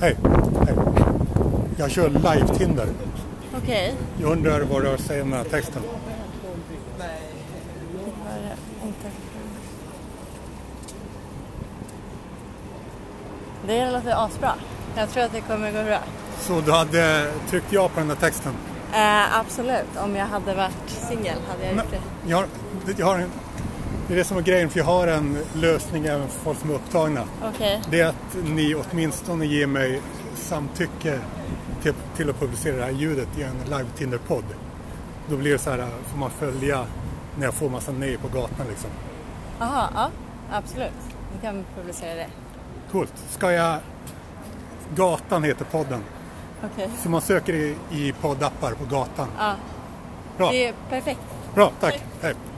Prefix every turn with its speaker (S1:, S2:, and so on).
S1: Hej, hej. Jag kör live-Tinder.
S2: Okej.
S1: Jag undrar vad du säger om den här texten.
S2: Inte. Det låter asbra. Jag tror att det kommer gå bra.
S1: Så du hade tryckt ja på den där texten?
S2: Eh, absolut, om jag hade varit singel hade jag gjort det.
S1: Jag har, jag har en, det är det som är grejen, för jag har en lösning även för folk som är upptagna.
S2: Okej.
S1: Det är att ni åtminstone ger mig samtycke till, till att publicera det här ljudet i en live Tinder-podd. Då blir det så här, får man följa när jag får massa nej på gatan liksom.
S2: Jaha, ja. Absolut. Vi kan publicera det.
S1: Coolt. Ska jag... Gatan heter podden.
S2: Okej.
S1: Så man söker i, i poddappar på gatan.
S2: Ja.
S1: Bra,
S2: Det är perfekt.
S1: bra tack. Hej.